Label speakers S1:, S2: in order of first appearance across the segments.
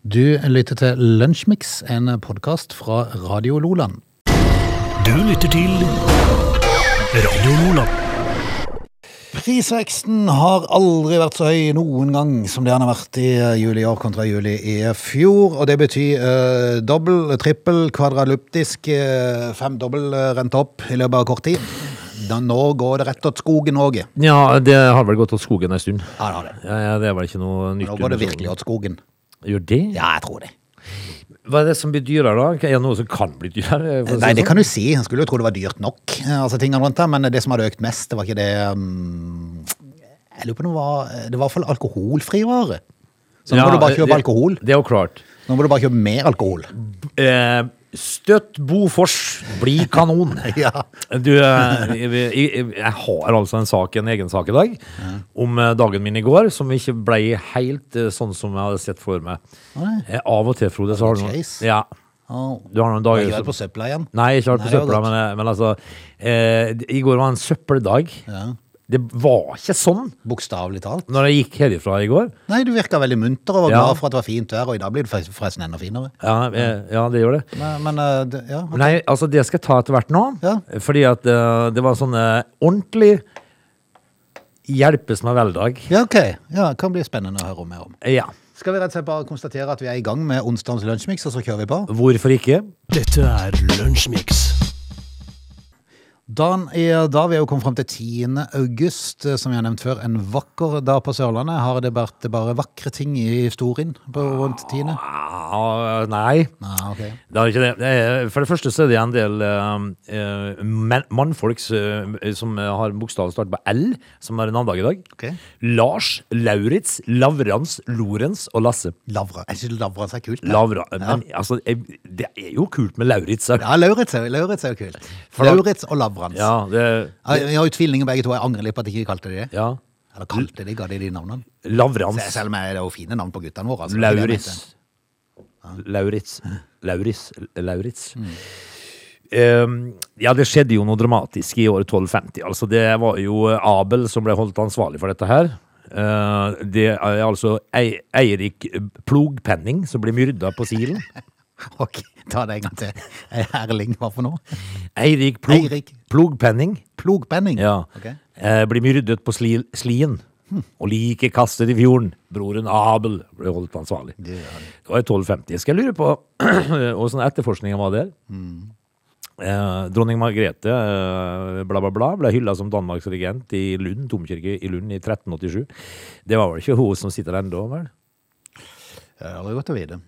S1: Du lytter til Lunsjmix, en podkast fra Radio Loland.
S2: Du lytter til Radio Lola.
S1: Prisveksten har aldri vært så høy noen gang som det den har vært i eh, juli i år kontra juli i fjor. Og det betyr eh, dobbel, trippel, kvadroluptisk, eh, femdobbel eh, rente opp i løpet av kort tid. Da, nå går det rett til skogen òg. Ja,
S3: Ja, det har vel gått åt skogen en stund.
S1: det har det.
S3: Ja, ja, det er vel ikke noe nytt.
S1: Nå går det
S3: under
S1: virkelig
S3: solen.
S1: åt skogen.
S3: Gjør det?
S1: Ja, jeg tror det.
S3: Hva er det som blir dyrere da? Er det noe som kan bli dyrere? for å si
S1: Nei, det
S3: sånn?
S1: kan du si. En skulle jo tro det var dyrt nok, eh, altså tingene rundt der, men det som hadde økt mest, det var ikke det mm, Jeg lurer på om det var Det var i hvert fall alkoholfri vare. Så nå
S3: sånn? Ja, eh,
S1: må du bare kjøpe
S3: det-
S1: alkohol.
S3: Det er jo klart.
S1: Nå må du bare kjøpe mer alkohol.
S3: Eh, støtt Bofors, bli kanon.
S1: Ja.
S3: Du, eh, jeg, jeg, jeg har altså en sak, en egen sak i dag, om eh, dagen min i går, som ikke ble helt eh, sånn som jeg hadde sett for meg.
S1: Å,
S3: Eh, av og til, Frode, så har du noen,
S1: Chase?
S3: ja,
S1: Oh.
S3: du har noen
S1: Har
S3: dager
S1: ikke vært
S3: som-
S1: på søpla igjen?
S3: Nei, ikke alt på
S1: Nei, det var
S3: søpla, men, men altså eh, d- I går var en søppeldag.
S1: Ja.
S3: Det var ikke sånn
S1: Bokstavelig talt.
S3: når jeg gikk herifra i går.
S1: Nei, du virka veldig munter og var
S3: Ja.
S1: glad for at det var fint vær, og i dag blir det for- forresten enda finere.
S3: Ja, eh, ja det gjør det.
S1: Men, men eh, det- ja.
S3: Nei, altså, det skal jeg ta etter hvert nå.
S1: Ja.
S3: Fordi at eh, det var sånn eh, ordentlig hjelpes meg vel-dag.
S1: ja, OK. Ja, det kan bli spennende å høre mer om.
S3: Ja.
S1: Skal vi rett og slett bare konstatere at vi er i gang med onsdagens lunsjmix, og så kjører vi på?
S3: Hvorfor ikke?
S2: Dette er Lunsjmix.
S1: Dagen er da vi er jo kommet frem til 10. august, eh, som jeg har nevnt før. En vakker dag på Sørlandet. Har det vært bare vakre ting i historien på rundt 10.?
S3: Ah, nei.
S1: Ah, ok.
S3: Det er ikke det. det. er- For det første så er det en del eh, eh, men- mannfolk eh, som har bokstaven start på L, som er en annen dag i dag.
S1: Ok.
S3: Lars, Lauritz, Lavrans, Lorentz og Lasse.
S1: Lavra. Er ikke Lavra så kult? da?
S3: Lavra. Men altså, jeg- det er jo kult med Lauritz. Ja,
S1: Ja, Lauritz er, Lauritz er jo kult.
S3: For da-
S1: Lauritz og Lavrans.
S3: ja, det,
S1: Ja, Vi har jo tvillinger begge to. Jeg angrer litt på at jeg ikke kalte de det.
S3: ja.
S1: Eller kalte de, ga de de navnene? Se-
S3: Lavrans,
S1: Selv om jeg- det er jo fine navn på guttene våre. altså.
S3: Lauritz. Lauritz. Lauritz. Lauritz.
S1: Mm.
S3: Eh, ja, det skjedde jo noe dramatisk i året 1250. Altså, det var jo Abel som ble holdt ansvarlig for dette her. Eh, det er altså Ei- Eirik Plogpenning som blir myrda på Silen.
S1: Ok, ta det en gang til. Erling, hva for noe?
S3: Eirik Plog,
S1: Eirik.
S3: Plogpenning.
S1: Plogpenning?
S3: Ja.
S1: Ok. Hm.
S3: Eh, blir myrdet på sli, Slien. Og liket kastet i fjorden. Broren Abel ble holdt ansvarlig. Det var i 1250. Jeg skal lure på åssen etterforskninga var der. Eh, dronning Margrethe eh, bla, bla, bla, ble hylla som Danmarks regent i Lund, domkirke i Lund i 1387. Det var vel ikke hun som sitter der ennå, vel?
S1: Det er aldri godt å vite.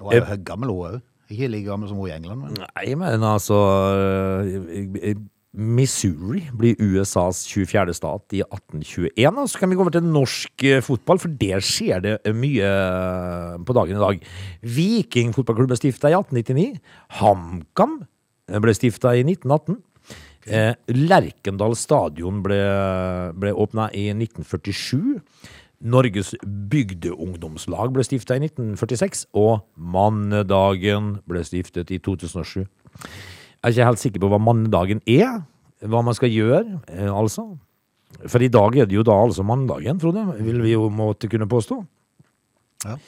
S1: Hun er jo høygammel, hun òg. Ikke like gammel som hun i England. Men.
S3: Nei, men altså eh, eh, Missouri blir USAs 24. stat i 1821. Og så kan vi gå over til norsk eh, fotball, for der skjer det mye eh, på dagen i dag. Viking fotballklubb ble stifta i 1899. HamKam ble stifta i 1918. Eh, Lerkendal stadion ble, ble åpna i 1947. Norges bygdeungdomslag ble stifta i 1946, og mannedagen ble stiftet i 2007. Jeg er ikke helt sikker på hva mannedagen er, hva man skal gjøre, eh, altså. For i dag er det jo da altså mandagen, Frode, vil vi jo måtte kunne påstå.
S1: Ja.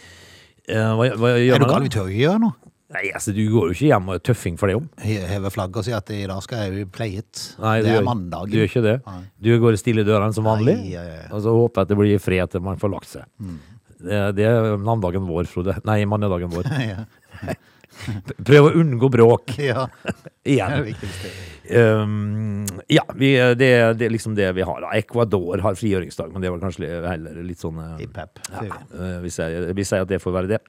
S3: Eh, hva, hva
S1: Er
S3: gjør
S1: du gal?
S3: man
S1: Vi
S3: da?
S1: tør jo ikke gjøre noe.
S3: Nei, altså, du går jo ikke hjem og er tøffing for det om.
S1: He- Heve flagget og si at i dag skal jeg play it.
S3: Nei,
S1: det
S3: du
S1: er
S3: gjør-
S1: mandagen.
S3: Du gjør ikke det.
S1: Nei.
S3: Du går stille i dørene som vanlig,
S1: Nei, ja, Mm. ja, ja.
S3: og så håper jeg at det blir fred til man får lagt seg. Det, det er mandagen vår, Frode. Nei, mannedagen vår.
S1: ja.
S3: Prøv å unngå bråk
S1: ja, det er det
S3: igjen.
S1: viktigste.
S3: Um, ja, vi, det, det er liksom det vi har. da. Ecuador har frigjøringsdag, men det var kanskje li- heller litt sånn eh,
S1: Hipp-happ,
S3: ja,
S1: sier
S3: eh, vi, sier, vi sier at det får være det.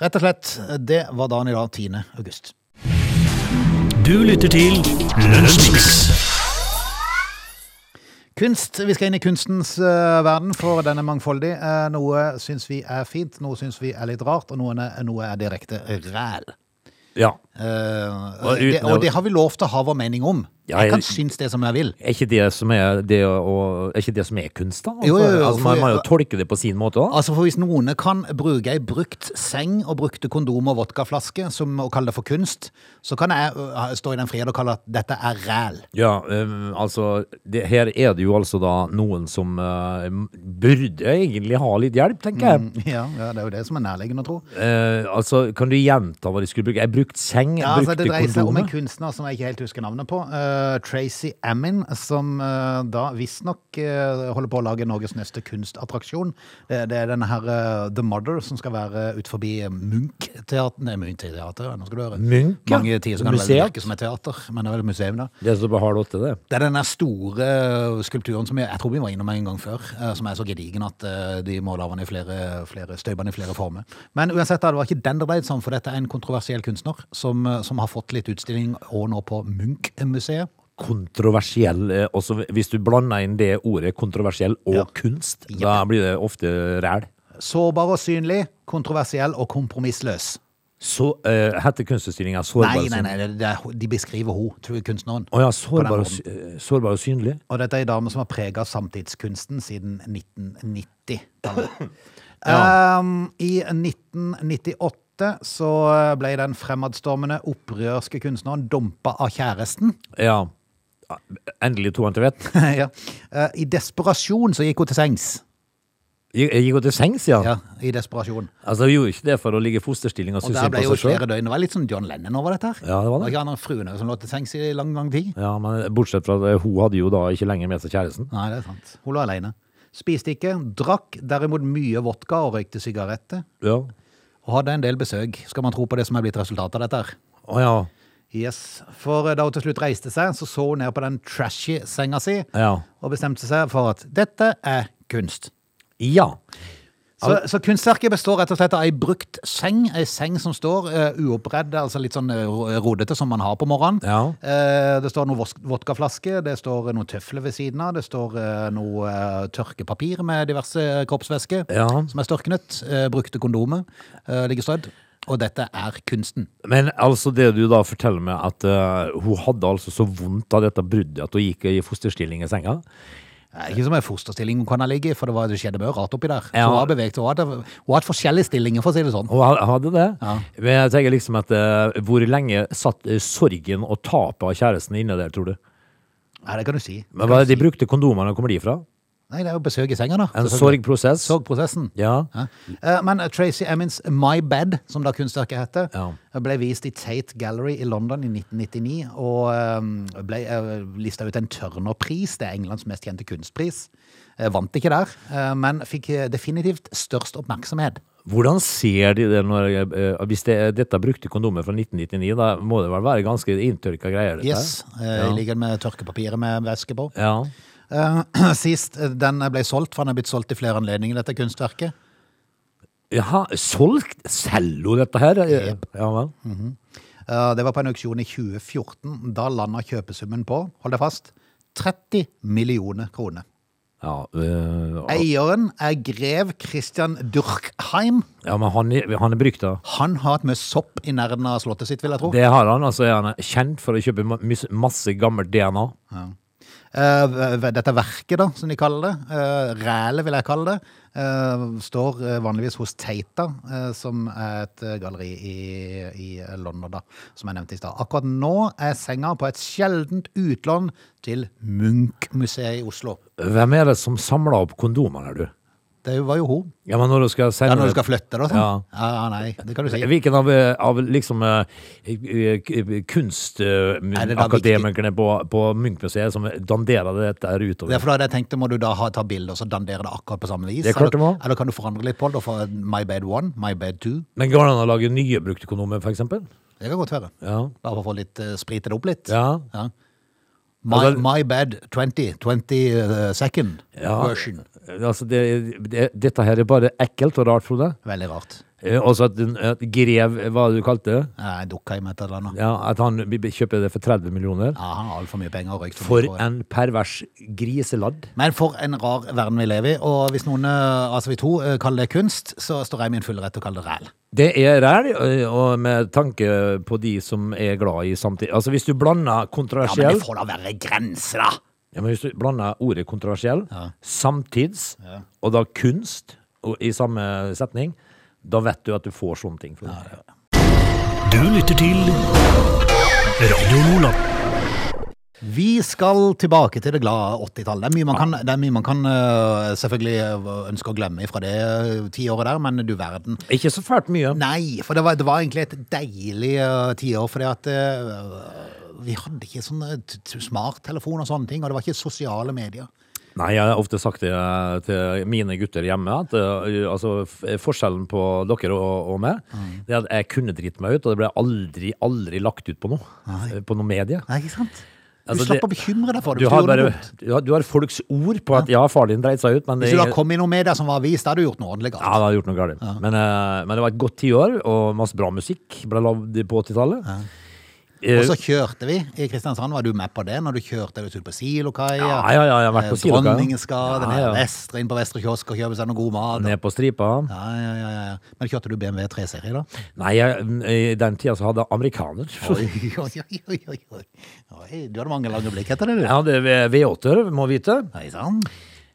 S1: Rett og slett, det var dagen i dag, 10. august.
S2: Du lytter til Lunsjmix.
S1: Kunst, Vi skal inn i kunstens eh, verden, for den er mangfoldig. Eh, noe syns vi er fint, noe syns vi er litt rart, og noen er, noe er direkte ræl.
S3: Ja.
S1: Eh,
S3: Og
S1: det,
S3: uten å-
S1: og det har vi lov til å ha vår mening om.
S3: Ja,
S1: Jeg
S3: jeg-
S1: kan synes det som jeg vil.
S3: Er ikke det som er, det å, er, ikke det som er kunst, da? Altså,
S1: Jo, jo, jo,
S3: altså, man
S1: for-
S3: må jo tolke det på sin måte òg.
S1: Altså for Hvis noen kan bruke ei brukt seng og brukte kondom og vodkaflaske som, og kalle det for kunst, så kan jeg øh, stå i den frihet og kalle at dette er ræl.
S3: Ja, eh, altså det, Her er det jo altså da noen som eh, burde egentlig ha litt hjelp, tenker jeg.
S1: Mm, Ja, ja, det er jo det som er nærliggende å tro.
S3: Eh, altså, Kan du gjenta hva de skulle bruke? Jeg brukte seng, jeg
S1: Ja, altså,
S3: brukte
S1: det dreier seg om en
S3: kondomer.
S1: kunstner som jeg ikke helt husker navnet på. eh, Tracy Amin, som eh, da visstnok uh, holder på å lage Norges neste kunstattraksjon. Det, det er denne her eh, The Mother som skal være ut forbi Munch-teater. Nei, Munch-teater, nå skal du høre.
S3: Munch, ja.
S1: Mange tider kan det vel
S3: Museet.
S1: virke som et teater, men det er vel et museum, da.
S3: Det som bare har lov til det.
S1: Det er den der store øh, skulpturen som jeg, jeg tror vi var innom en gang før, eh, som er så gedigen at eh, de må lage den i flere, flere støyper den i flere former. Men uansett, da, det var ikke den det dreide seg om, for dette er en kontroversiell kunstner som, eh, som har fått litt utstilling og nå på Munch-museet.
S3: Kontroversiell. eh, Også hvis du blander inn det ordet kontroversiell og
S1: Ja.
S3: kunst, da blir det ofte ræl.
S1: Sårbar og synlig, kontroversiell og kompromissløs.
S3: Så eh, heter kunstutstillinga sårbar
S1: Nei,
S3: og
S1: nei,
S3: synlig.
S1: nei, det, det, er- de beskriver hun, tror jeg, kunstneren.
S3: Å ja,
S1: På
S3: sårbar
S1: den
S3: og, sy- eh, sårbar og synlig.
S1: Og dette er en dame som har prega samtidskunsten siden 1990-tallet. um, I 1998 så ble den fremadstormende opprørske kunstneren dumpa av kjæresten.
S3: Ja. Ah, Endelig to han til vett.
S1: ja. Eh, I desperasjon så gikk hun til sengs.
S3: Jeg jeg gikk jo til sengs, ja.
S1: Ja, i desperasjon.
S3: Altså, jeg gjorde ikke det for å ligge i fosterstilling og
S1: Og
S3: synes
S1: der
S3: synd
S1: ble
S3: på
S1: jo
S3: seg sjøl.
S1: flere døgn. Det var litt sånn John Lennon over dette her.
S3: Ja, det var det.
S1: ikke han og fruen som lå til sengs i lang, lang tid.
S3: Ja, men bortsett fra at eh, hun hadde jo da ikke lenger med seg kjæresten.
S1: Nei, det er sant. Hun lå aleine. Spiste ikke, drakk derimot mye vodka og røykte sigaretter.
S3: Ja.
S1: og hadde en del besøk. Skal man tro på det som er blitt resultatet av dette her?
S3: Å ja.
S1: Yes, For eh, da hun til slutt reiste seg, så så hun ned på den trashy senga si
S3: Ja.
S1: og bestemte seg for at dette er kunst.
S3: Ja.
S1: Så, så kunstverket består rett og slett av ei brukt seng, ei seng som står uh, uoppredd, altså litt sånn eh, ro- rodete som man har på morgenen.
S3: Ja.
S1: Eh, det står noen vos- vodkaflaske, det står noen tøfler ved siden av, det står eh, noe eh, tørkepapir med diverse kroppsvæsker
S3: Ja.
S1: som er størknet, eh, brukte kondomer eh, ligger strødd, og dette er kunsten.
S3: Men altså, det du da forteller meg, at eh, hun hadde altså så vondt av dette bruddet at hun gikk i fosterstilling i senga.
S1: Nei, Ikke som en fosterstilling hun kan ha ligget i, for det, var, det skjedde mye rart oppi der. Så
S3: Ja.
S1: hun har beveget, hun har, hatt- hun har hatt forskjellige stillinger, for å si det sånn.
S3: Hun ha- hadde det.
S1: Ja.
S3: Men jeg tenker liksom at eh, hvor lenge satt eh, sorgen og tapet av kjæresten inne der, tror du?
S1: Nei, det kan du si.
S3: Men hva er det de brukte kondomene, kommer de fra?
S1: Nei, det er jo besøk i senga, da.
S3: En
S1: selvfølgelig.
S3: sorgprosess?
S1: Sorgprosessen.
S3: Ja.
S1: Ja. Eh, Men Tracy Emmins My Bed, som da kunstverket heter,
S3: Ja.
S1: ble vist i Tate Gallery i London i 1999, og eh, ble eh, lista ut en Turner-pris, det er Englands mest kjente kunstpris. Eh, Vant ikke der, eh, men fikk eh, definitivt størst oppmerksomhet.
S3: Hvordan ser de det når eh, Hvis det, dette brukte kondomer fra 1999, da må det vel være ganske inntørka greier? dette
S1: Yes, eh,
S3: her?
S1: i likhet med tørkepapiret med væske på.
S3: Ja.
S1: Eh, Sist eh, den ble solgt, for den er blitt solgt i flere anledninger, dette kunstverket.
S3: ja. Jaha, solgt? Selger hun dette her? Ja vel.
S1: Eh, Det var på en auksjon i 2014. Da landa kjøpesummen på, hold deg fast, 30 millioner kroner.
S3: Ja, eh,
S1: Eieren er grev Christian Durkheim.
S3: ja, men han, er- han er brukta.
S1: Han har hatt mye sopp i nærheten av slottet sitt, vil jeg tro.
S3: Det har han. altså er han Kjent for å kjøpe ma- mys- masse gammelt DNA.
S1: Eh, v- v- Dette verket, da, som de kaller det, eh, rælet vil jeg kalle det, eh, står eh, vanligvis hos Teita, eh, som er et eh, galleri i, i eh, London, da, som jeg nevnte i stad. Akkurat nå er senga på et sjeldent utlån til Munch-museet i Oslo.
S3: Hvem er det som samler opp kondomer her, du?
S1: Det var jo hun.
S3: Ja, men når du skal
S1: Ja,
S3: sende
S1: når du skal flytte, da? Sånn.
S3: Ja.
S1: Ja, ja, nei, det kan du si.
S3: Hvilken av, eh, av liksom
S1: Er det da
S3: kunstakademikerne på, på Munch-museet som danderer dette her utover?
S1: Det er for da hadde jeg tenkt, må du da ha, ta bilder og så dandere det akkurat på samme vis?
S3: Det er klart du må.
S1: Eller, eller kan du forandre litt på det og få My Bed 1, My Bed 2?
S3: Men går det an å lage nye brukte kondomer, for eksempel?
S1: Det kan godt være.
S3: Ja.
S1: Bare for å få litt, eh, sprite det opp litt.
S3: Ja.
S1: My,
S3: Altså-
S1: my Bed 20, 20 eh, second
S3: Ja.
S1: version.
S3: Altså, det, det, dette her er bare ekkelt og rart, Frode.
S1: Veldig rart.
S3: Eh, Også at, den- at Grev, hva du kalte det?
S1: Nei, dukka i meg et eller annet.
S3: Ja, at han b- b- kjøper det for 30 millioner.
S1: Ja, han har altfor mye penger og røykt.
S3: For
S1: mye på det.
S3: en pervers griseladd.
S1: Men for en rar verden vi lever i. Og hvis noen, eh, altså vi to, eh, kaller det kunst, så står jeg i min fulle rett til å kalle det ræl.
S3: Det er ræl, eh, og med tanke på de som er glad i samtidig Altså, hvis du blander
S1: Ja, men
S3: kontroversiell
S1: det får da være grenser, da!
S3: Ja, men hvis du blander ordet kontroversiell,
S1: Ja.
S3: samtids, og da kunst og, i samme setning, da vet du at du får sånne ting. For det.
S2: Du lytter til Radio Nordland.
S1: Vi skal tilbake til det glade 80-tallet. Det er mye man kan, det er mye man kan øh, selvfølgelig øh, ønske å glemme fra det øh, tiåret der, men du verden.
S3: Ikke så fælt mye.
S1: Nei, for det var, det var egentlig et deilig øh, tiår, fordi at øh, vi hadde ikke sånn øh, t- t- smarttelefon og sånne ting, og det var ikke sosiale medier.
S3: Nei, jeg har ofte sagt det eh, til mine gutter hjemme, at eh, altså, f- forskjellen på dere og, og meg,
S1: Mm.
S3: det er at jeg kunne drite meg ut, og det ble aldri, aldri lagt ut på noe. eh, På noe medie.
S1: Nei, ikke sant? Du
S3: Altså,
S1: slapp
S3: det-
S1: å bekymre deg for det.
S3: Du
S1: hvis
S3: har,
S1: gjorde
S3: bare,
S1: noe dumt.
S3: du, har, du har folks ord på at ja, far din dreit seg ut, men
S1: Hvis du
S3: det-
S1: da kom i noe med deg som var vist, da hadde du gjort noe ordentlig
S3: Ja,
S1: galt.
S3: det hadde gjort noe galt. Men, eh, men det var et godt tiår, og masse bra musikk ble lagd på 80-tallet. Eh,
S1: Og så kjørte vi i Kristiansand. Var du med på det når du kjørte ut på Silokai?
S3: ja, ja, ja, jeg har
S1: Eh,
S3: vært på Siloka.
S1: Dronningsgade,
S3: Ja,
S1: ned
S3: ja.
S1: vestre, inn på Vestre kiosk og kjøpe seg noe god mat.
S3: Ned på stripa.
S1: sånn. Ja, ja, ja, ja. ja. Men kjørte du BMW 3-serie da?
S3: Nei, jeg, i den tida så hadde jeg amerikaner.
S1: Oi, oi, oi, oi, oi, oi. Oi, Du hadde mange lange blikk etter det, du.
S3: Jeg hadde V- V8-er, må vite.
S1: Nei, sant?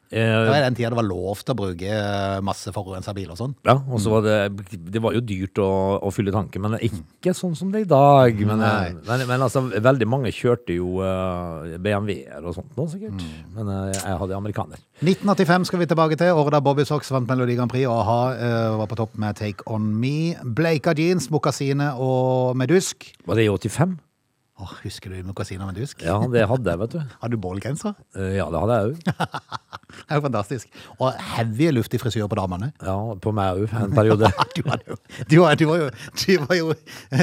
S1: Det
S3: Eh,
S1: var i den tida det var lov til å bruke eh, masse forurensa bil og sånn.
S3: ja, og så var det Det var jo dyrt å, å fylle tanken, men ikke sånn som det er i dag. Men, eh, men, men altså, veldig mange kjørte jo eh, BMW-er og sånt nå, sikkert. Men eh, jeg hadde amerikaner.
S1: 1985 skal vi tilbake til, året da Bobby Sox vant Melodi Grand Prix og a-ha eh, var på topp med Take On Me. Bleika jeans, mokasiner og medusk.
S3: Var det i 85?
S1: Åh, husker du mokasiner og medusk?
S3: Ja, det hadde jeg, vet du.
S1: Har du bålgenser?
S3: Eh, Ja, det hadde jeg òg.
S1: Det er jo fantastisk. Og heavy luftig frisyr på damene.
S3: Ja, på meg òg, en periode.
S1: Du, var jo, du, var, du, var jo, du, var jo,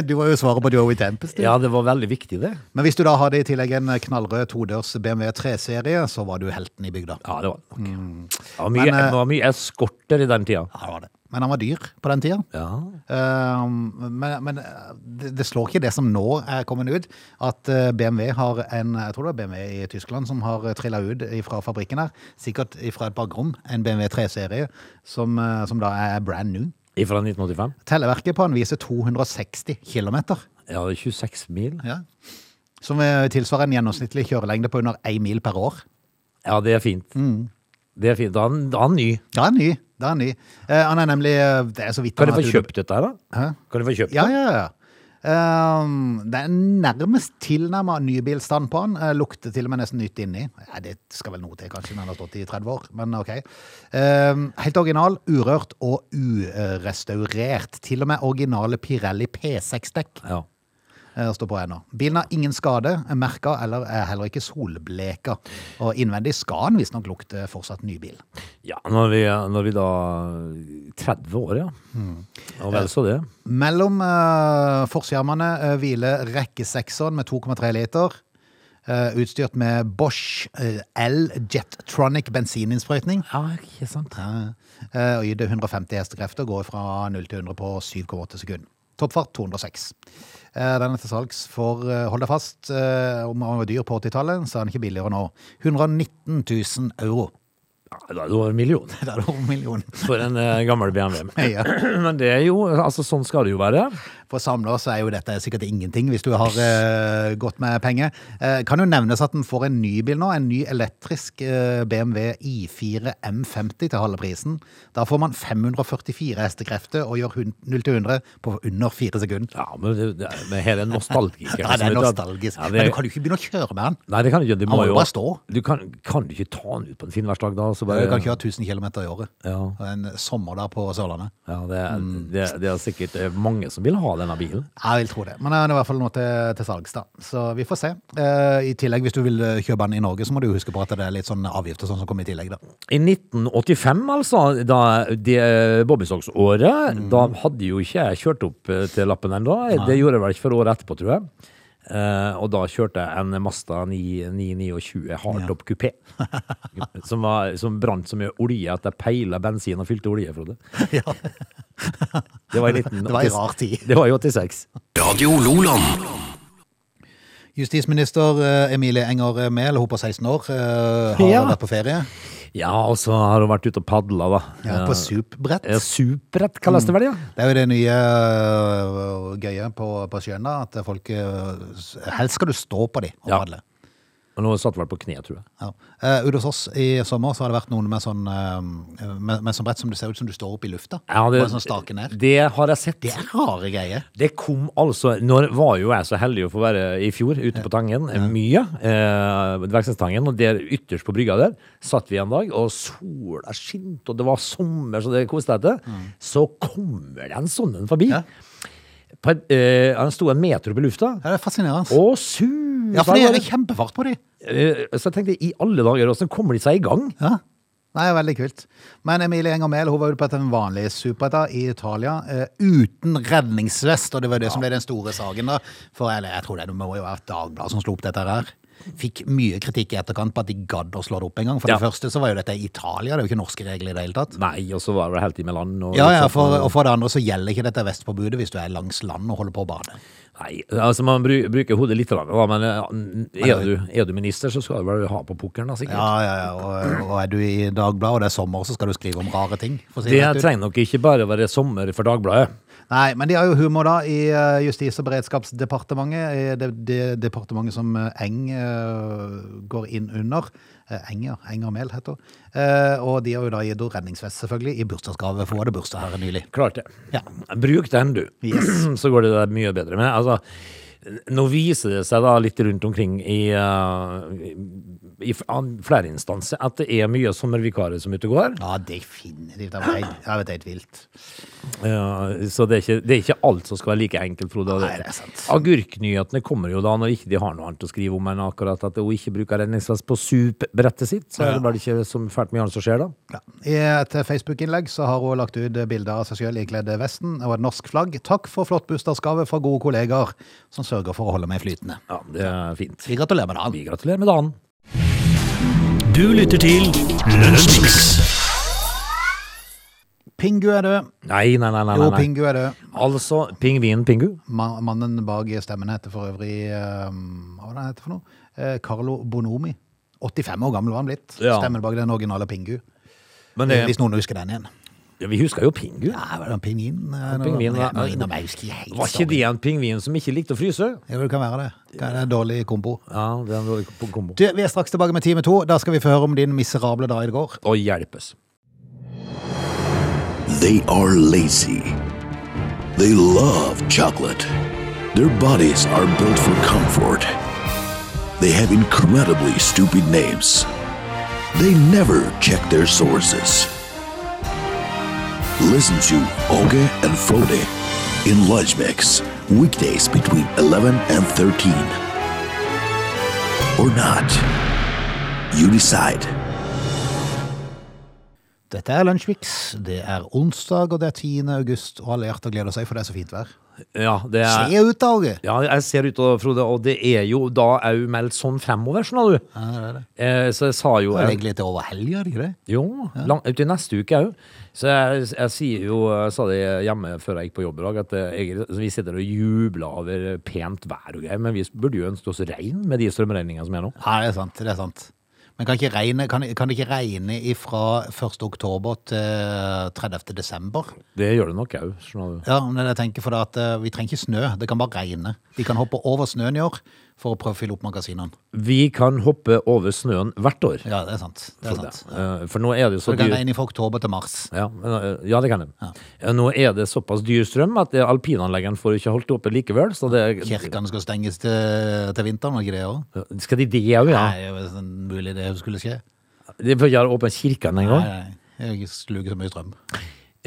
S1: du var jo svaret på Joey Tempest. du.
S3: Ja, det var veldig viktig, det.
S1: Men hvis du da hadde i tillegg en knallrød todørs BMW 3-serie, så var du helten i bygda.
S3: Ja, det var det nok. Det var
S1: Men,
S3: mye,
S1: eh,
S3: det var mye eskorter i den tida.
S1: Ja, det var det. Men han var dyr på den tida.
S3: Ja.
S1: Eh, men men det, det slår ikke det som nå er kommet ut, at eh, BMW har en Jeg tror det var BMW i Tyskland som har trilla ut fra fabrikken her. Sikkert fra et bakrom. En BMW 3-serie som, eh, som da er brand new.
S3: Fra 1985.
S1: Telleverket på han viser 260 km.
S3: Ja, 26 mil.
S1: Ja. Som eh, tilsvarer en gjennomsnittlig kjørelengde på under én mil per år.
S3: Ja, det er fint.
S1: Mm.
S3: Det er fint. Da er han- da er han ny.
S1: Da er han ny. Da er han ny. Eh, han er nemlig eh, Det er så vidt
S3: Kan
S1: han
S3: jeg
S1: har
S3: få
S1: hatt ut-
S3: kjøpt dette her, da?
S1: Hæ?
S3: Kan jeg få kjøpt
S1: Ja,
S3: det?
S1: ja, ja. Ehm, det er nærmest tilnærma nybilstand på den. Eh, lukter til og med nesten nytt inni. Ja, det skal vel noe til, kanskje, når den har stått i 30 år, men OK. Ehm, helt original, urørt og urestaurert. Til og med originale Pirelli P6-dekk
S3: Ja.
S1: eh, står på ennå. Bilen har ingen skade, er merka eller er heller ikke solbleka. Og innvendig skal den visstnok lukte fortsatt nybil.
S3: ja når, vi, når vi da 30 år, ja.
S1: Mm.
S3: Og vel så det.
S1: Mellom uh, forskjermene eh, hviler rekkesekseren med 2,3 liter. eh, utstyrt med Bosch eh, L Jettronic bensininnsprøytning.
S3: Ja, ikke sant.
S1: Uh, og gir det 150 hestekrefter, går fra 0 til 100 på 7,8 sekunder. Toppfart 206. Eh, den er til salgs for, eh, hold deg fast, eh, om han var dyr på 80-tallet, så er den ikke billigere nå. 119 000 euro.
S3: Ja, da er det over en million
S1: Det er over millionen.
S3: for en eh, gammel BMW.
S1: Ja.
S3: Men det er jo Altså, sånn skal det jo være.
S1: For samler så er jo dette sikkert ingenting hvis du har eh, gått med penger. Eh, kan jo nevnes at den får en ny bil nå, en ny elektrisk eh, BMW I4 M50 til halve prisen. Da får man 544 hestekrefter og gjør hun- 0 til 100 på under 4 sekunder.
S3: Ja, men det, det er- men her er nostalgiker.
S1: Ja, det er
S3: som vet at-
S1: nostalgisk.
S3: Ja, det-
S1: Men du kan jo ikke begynne å kjøre med den.
S3: Nei, det kan du ikke. Du
S1: Han må
S3: må jo
S1: bare stå.
S3: Du kan, kan du ikke ta han ut på en finværsdag da? Så bare,
S1: Du kan kjøre 1000 km i året.
S3: Ja.
S1: Og En sommer der på Sørlandet.
S3: Ja, det, er-
S1: Mm.
S3: det, det er sikkert eh, mange som vil ha denne bilen.
S1: Jeg vil tro det. Men den er i hvert fall nå til, til salgs, da. Så vi får se. Eh, I tillegg, hvis du vil eh, kjøpe den i Norge, så må du huske på at det er litt sånn avgifter og sånn som kommer i tillegg, da.
S3: I 1985, altså, da det
S1: Mm.
S3: Bobbysocks-året, da hadde jo ikke jeg kjørt opp eh, til lappen ennå. Det gjorde jeg vel ikke før året etterpå, tror jeg. Eh, og da kjørte jeg en Mazda 9- 929 hardtop kupé, som, var- som brant så mye olje at jeg peila bensin og fylte olje, Frode.
S1: Ja.
S3: Det var i
S1: Det var en
S3: 1986.
S1: rar tid.
S3: Det var i 86.
S2: Radio Loland.
S1: Justisminister eh, Emilie Enger Mehl, hun på 16 år, eh, har
S3: Ja.
S1: vært på ferie.
S3: Ja, og så har hun vært ute og padla, da.
S1: Ja,
S3: Eh,
S1: på supbrett.
S3: ja, Superbrett kalles det vel, ja.
S1: Det er jo det nye øh, gøye på, på sjøen, da, at folk øh, s- Helst skal du stå på de og
S3: Ja.
S1: padle.
S3: Men hun satt vel på kne, tror jeg.
S1: Ja. Eh, Ute hos oss i sommer så har det vært noen med sånn, eh, med, med sånn brett som det ser ut som du står oppe i lufta.
S3: Ja, det,
S1: Bare sånn stake ned.
S3: det har jeg sett.
S1: Det er rare greier.
S3: Det kom altså Når var jo jeg så heldig å få være i fjor ute på Tangen. Mye. Eh, Dvergsenstangen. Og der ytterst på brygga der satt vi en dag, og sola skinte, og det var sommer, så det koste jeg til. Så kommer det en sånn en forbi.
S1: Mm. Ja.
S3: På en- eh, han sto en meter opp i lufta.
S1: Ja, det er fascinerende.
S3: Og suser
S1: ja, for det
S3: av
S1: er
S3: gårde.
S1: kjempefart på de.
S3: Eh, Så jeg tenkte, i alle dager, åssen kommer de seg i gang?
S1: Ja. Nei, veldig kult. Men Emilie Enger Mehl hun var ute på den vanlige superta i Italia eh, uten redningsvest, og det var det som ble den store saken. da. For eller, jeg tror det, det må jo være Dagbladet som slo opp dette her. Fikk mye kritikk i etterkant på at de gadd å slå det opp en gang. For
S3: Ja.
S1: det første så var jo dette i Italia, det er jo ikke norske regler i det hele tatt.
S3: Nei, og så var det vel helt i med land. Og
S1: Ja,
S3: litt
S1: ja,
S3: sånn.
S1: for, Og liksom for det andre så gjelder ikke dette vestpåbudet hvis du er langs land og holder på å bade.
S3: Nei, altså man bru, bruker hodet litt, da, men eh, er du, er du minister, så skal du vel ha på pukkelen, da, sikkert.
S1: Ja, ja, ja, Og, og er du i Dagbladet og det er sommer, så skal du skrive om rare ting. For å si
S3: Det
S1: rett ut.
S3: trenger nok ikke bare å være sommer for Dagbladet.
S1: Nei, men de har jo humor da i eh, Justis- og beredskapsdepartementet. eh, Det, det departementet som eh, Eng eh, går inn under. Eh, Eng, ja. Enger Mehl heter hun. Eh, og de har jo da gitt henne redningsvest, selvfølgelig, i bursdagsgave. For hun hadde bursdag her nylig.
S3: Klart det.
S1: Ja.
S3: Bruk den, du. Så går det der mye bedre. Men altså, nå viser det seg da litt rundt omkring i, eh, i f- an- flere instanser at det er mye sommervikarer som ute og går.
S1: Ja, definitivt. Det var helt, det var helt vilt.
S3: Eh, så det er, ikke, det er ikke alt som skal være like enkelt, Frode. og
S1: Nei, det er sant.
S3: Agurknyhetene kommer jo da når ikke de har noe annet å skrive om enn akkurat at hun ikke bruker redningsvest på supbrettet sitt. Så er det bare ikke så fælt mye annet som skjer da.
S1: Ja. I et Facebook-innlegg så har hun lagt ut bilder av seg sjøl ikledd vesten og et norsk flagg. Takk for flott bursdagsgave fra gode kollegaer som sørger for å holde meg flytende.
S3: Ja, det er fint.
S1: Vi gratulerer med dagen.
S3: Vi gratulerer med dagen.
S2: Du lytter til Lunsjmix.
S1: Pingu er død.
S3: Nei, nei, nei. nei,
S1: Jo,
S3: nei.
S1: Pingu er død.
S3: Altså, pingvinen Pingu.
S1: Ma- Mannen bak stemmen heter for øvrig ehm, Hva var det han heter for noe? Eh, Carlo Bonomi. 85 år gammel var han blitt.
S3: Ja.
S1: Stemmen bak den originale Pingu.
S3: Men det,
S1: Hvis noen husker den igjen.
S3: ja, vi husker jo Pingu.
S1: Ja, var det en pingvin? eh, noe-
S3: pingvin,
S1: noe-
S3: ja.
S1: noe innom jeg husker helt
S3: Var ikke
S1: dårlig.
S3: det en pingvin som ikke likte å fryse?
S1: Jo, det kan være det. Kan- Det er en dårlig kombo.
S3: Ja, det er en dårlig kom- kombo.
S1: Du, vi er straks tilbake med Time 2. Da skal vi få høre om din miserable dag i går.
S3: Å hjelpes.
S4: They are lazy. They love chocolate. Their bodies are built for comfort. They have incredibly stupid names. They never check their sources. Listen to Oge and Frode in Lunch Mix, weekdays between 11 and 13. Or not. You decide.
S1: Dette er Lunsjmix. Det er onsdag, og det er 10. august. Og alle hjerter gleder seg, for det er så fint vær.
S3: Ja, det er...
S1: Se ut, da, Åge!
S3: Ja, jeg ser ut av Frode, og det er jo da au meldt sånn fremover, skjønner du.
S1: Ja, det er det.
S3: Eh, så jeg sa jo
S1: Det er jo egentlig til over helga, er det ikke det?
S3: Jo, lang, ut i neste uke òg. Så jeg, jeg sier jo, jeg sa det hjemme før jeg gikk på jobb i dag, at eh, jeg, så vi sitter og jubler over pent vær og greier, men vi burde jo ønske oss regn med de strømregningene som er nå.
S1: Ja, det er sant. det er sant. Men kan, ikke regne, kan, kan det ikke regne fra 1. oktober til 30. desember?
S3: Det gjør det nok òg, skjønner du.
S1: Ja, men jeg tenker for det at eh, Vi trenger ikke snø, det kan bare regne. Vi kan hoppe over snøen i år for å prøve å fylle opp magasinene.
S3: Vi kan hoppe over snøen hvert år.
S1: Ja, det er sant. Det er
S3: For, det.
S1: sant.
S3: Eh, for nå er det jo så
S1: Det kan
S3: dyr
S1: regne fra oktober til mars.
S3: ja, men, eh, ja, det kan det. Eh, Nå er det såpass dyr strøm at det alpinanleggene får ikke holdt oppe likevel. Så det,
S1: Kirkene skal stenges til, til vinteren, var ikke det òg?
S3: skal de det òg, ja?
S1: Nei, det er jo sånn mulig det skulle skje.
S3: Det får ikke være åpne kirkene
S1: Nei,
S3: engang.
S1: nei. Jeg sluker så mye strøm.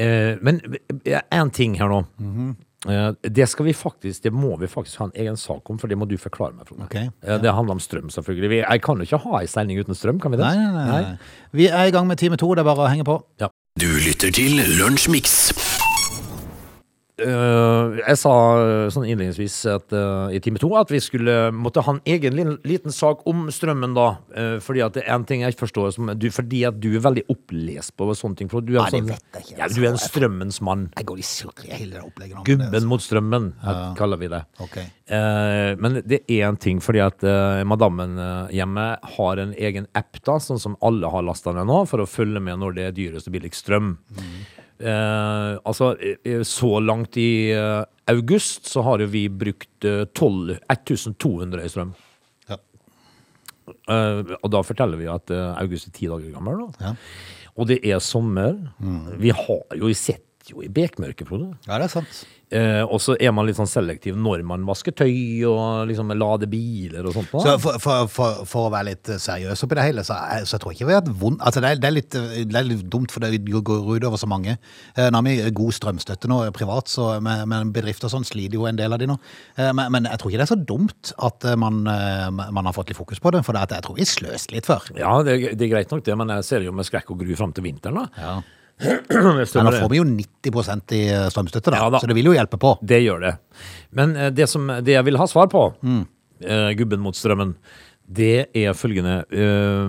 S3: Eh, men én ting her nå.
S1: Mhm.
S3: Eh, det skal vi faktisk, det må vi faktisk ha en egen sak om, for det må du forklare meg, Frode.
S1: Ok.
S3: Eh, det handler om strøm, selvfølgelig. Vi, jeg kan jo ikke ha ei sending uten strøm, kan vi det?
S1: Nei, nei, nei, nei. Vi er i gang med time to, det er bare å henge på.
S4: Du lytter til Lunsjmix.
S3: Eh, jeg sa eh, sånn innledningsvis at, eh, i time to at vi skulle måtte ha en egen lin- liten sak om strømmen, da. eh, fordi at det er en ting jeg ikke forstår som du, Fordi at du er veldig opplest på sånne ting. For du er,
S1: Nei, det
S3: sånn-
S1: vet jeg ikke,
S3: Ja,
S1: altså.
S3: du er en strømmens mann.
S1: Jeg går i surr i hele det opplegget. nå.
S3: Gubben mot strømmen, eh, kaller vi det.
S1: Ok.
S3: Eh, men det er en ting, fordi at eh, madammen eh, hjemme har en egen app, da, sånn som alle har lasta ned nå, for å følge med når det er dyrest og billigst strøm. Eh, altså, eh, eh, så langt i eh, august så har jo vi brukt eh, 12 1200 i strøm.
S1: Ja.
S3: Eh, og da forteller vi at eh, august er ti dager gammel, da.
S1: Ja.
S3: Og det er sommer. Vi har jo sett jo i bekmørket, Frode.
S1: ja, det er sant.
S3: Eh, og så er man litt sånn selektiv når man vasker tøy og liksom lader biler og sånt. da.
S1: Så for, for, for, for å være litt eh, seriøs oppi det hele, så, er- så jeg tror ikke vi har hatt vondt Altså, det er, det, er litt, eh, det er litt dumt, for det går utover så mange. Eh, Nå har vi god strømstøtte nå eh, privat, så, men, men bedrifter og sånn sliter jo en del av de nå. Eh, Men, men jeg tror ikke det er så dumt at eh, man, eh, man har fått litt fokus på det, for det at jeg tror vi sløste litt før.
S3: Ja, det, er- det er greit nok det, men jeg ser jo med skrekk og gru fram til vinteren, da.
S1: Ja.
S3: Jeg
S1: Men
S3: støtter
S1: nå
S3: det.
S1: får vi jo 90 i eh, strømstøtte, da,
S3: Ja da.
S1: så det vil jo hjelpe på.
S3: Det gjør det. Men eh, det, som, det jeg vil ha svar på, eh, gubben mot strømmen, det er følgende. eh,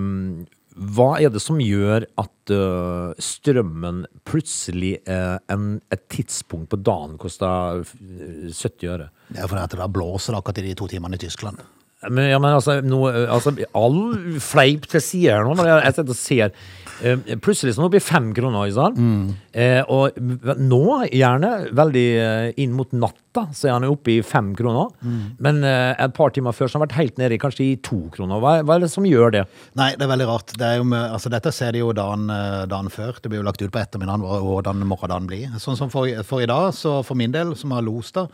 S3: hva er det som gjør at eh, strømmen plutselig eh, en, et tidspunkt på dagen koster eh, 70 øre?
S1: Det er fordi at det da blåser det akkurat i de to timene i Tyskland.
S3: Men, ja, men altså, nå, eh, altså All fleip til side her nå, når jeg, jeg sitter og ser. Eh, plutselig så nå blir det fem kroner, ikke sant?
S1: Mm.
S3: Eh, og v- nå, gjerne, veldig eh, inn mot natta, så er han jo oppe i fem kroner.
S1: Mm.
S3: Men eh, et par timer før så har han vært helt nede i kanskje i to kroner. Hva, hva er det som gjør det?
S1: Nei, det er veldig rart. Det er jo, med- altså, dette ser de jo dagen, eh, dagen før. Det blir jo lagt ut på ettermiddagen hva- hvordan morgendagen blir. Sånn som for, for i dag, så for min del, som har los da,